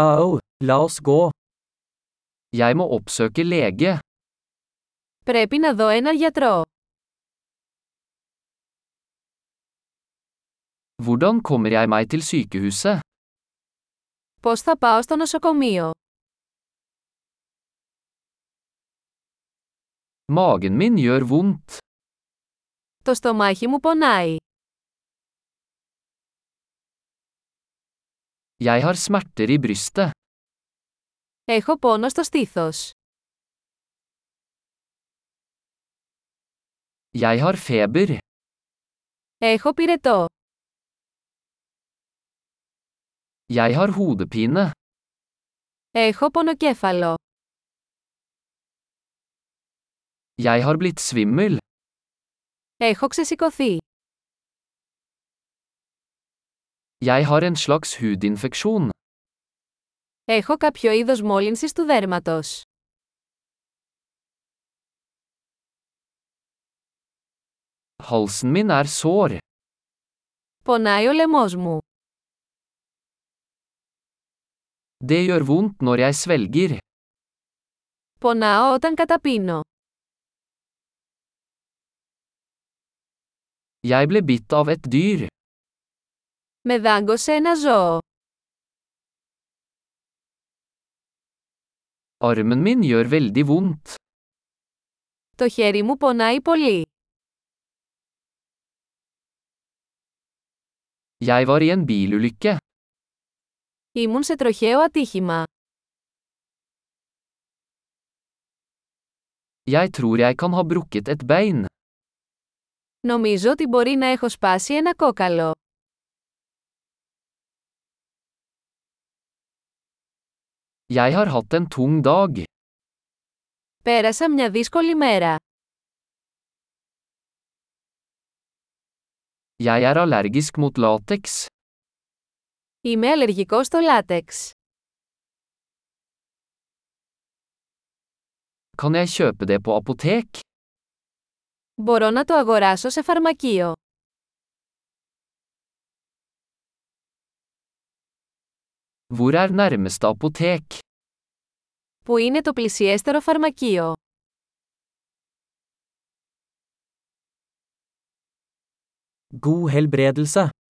Au, la oss gå. Jeg må oppsøke lege. Πρέπει να δω έναν γιατρό. Hvordan kommer jeg meg til sykehuset? Πώς θα πάω στο νοσοκομείο. Magen min gjør vondt. Το στομάχι μου πονάει. Jeg har smerter i brystet. Έχω πόνο στο στήθος. Jeg har feber. Έχω πυρετό. Jeg har hodepine. Έχω πονοκέφαλο. Jeg har blitt svimmel. Έχω ξεσηκωθεί. Jeg har en slags hudinfeksjon. Έχω κάποιο είδος μόλυνσης του δέρματος. Halsen min er sår. Πονάει ο λαιμός μου. Det gjør vondt når jeg svelger. Πονάω όταν καταπίνω. Jeg ble bitt av et dyr. Με δάγκωσε ένα ζώο. Armen min gjør veldig vondt. Το χέρι μου πονάει πολύ. Jeg var i en bilulykke. Ήμουν σε τροχαίο ατύχημα. Jeg tror jeg kan ha brukket et bein. Νομίζω ότι μπορεί να έχω σπάσει ένα κόκαλο. Jeg har hatt en tung dag. Πέρασα μια δύσκολη μέρα. Jeg er allergisk mot lateks. Είμαι αλλεργικός στο λάτεξ. Kan jeg kjøpe det på apotek? Μπορώ να το αγοράσω σε φαρμακείο. Hvor er nærmeste apotek? Πού είναι το πλησιέστερο φαρμακείο. God helbredelse.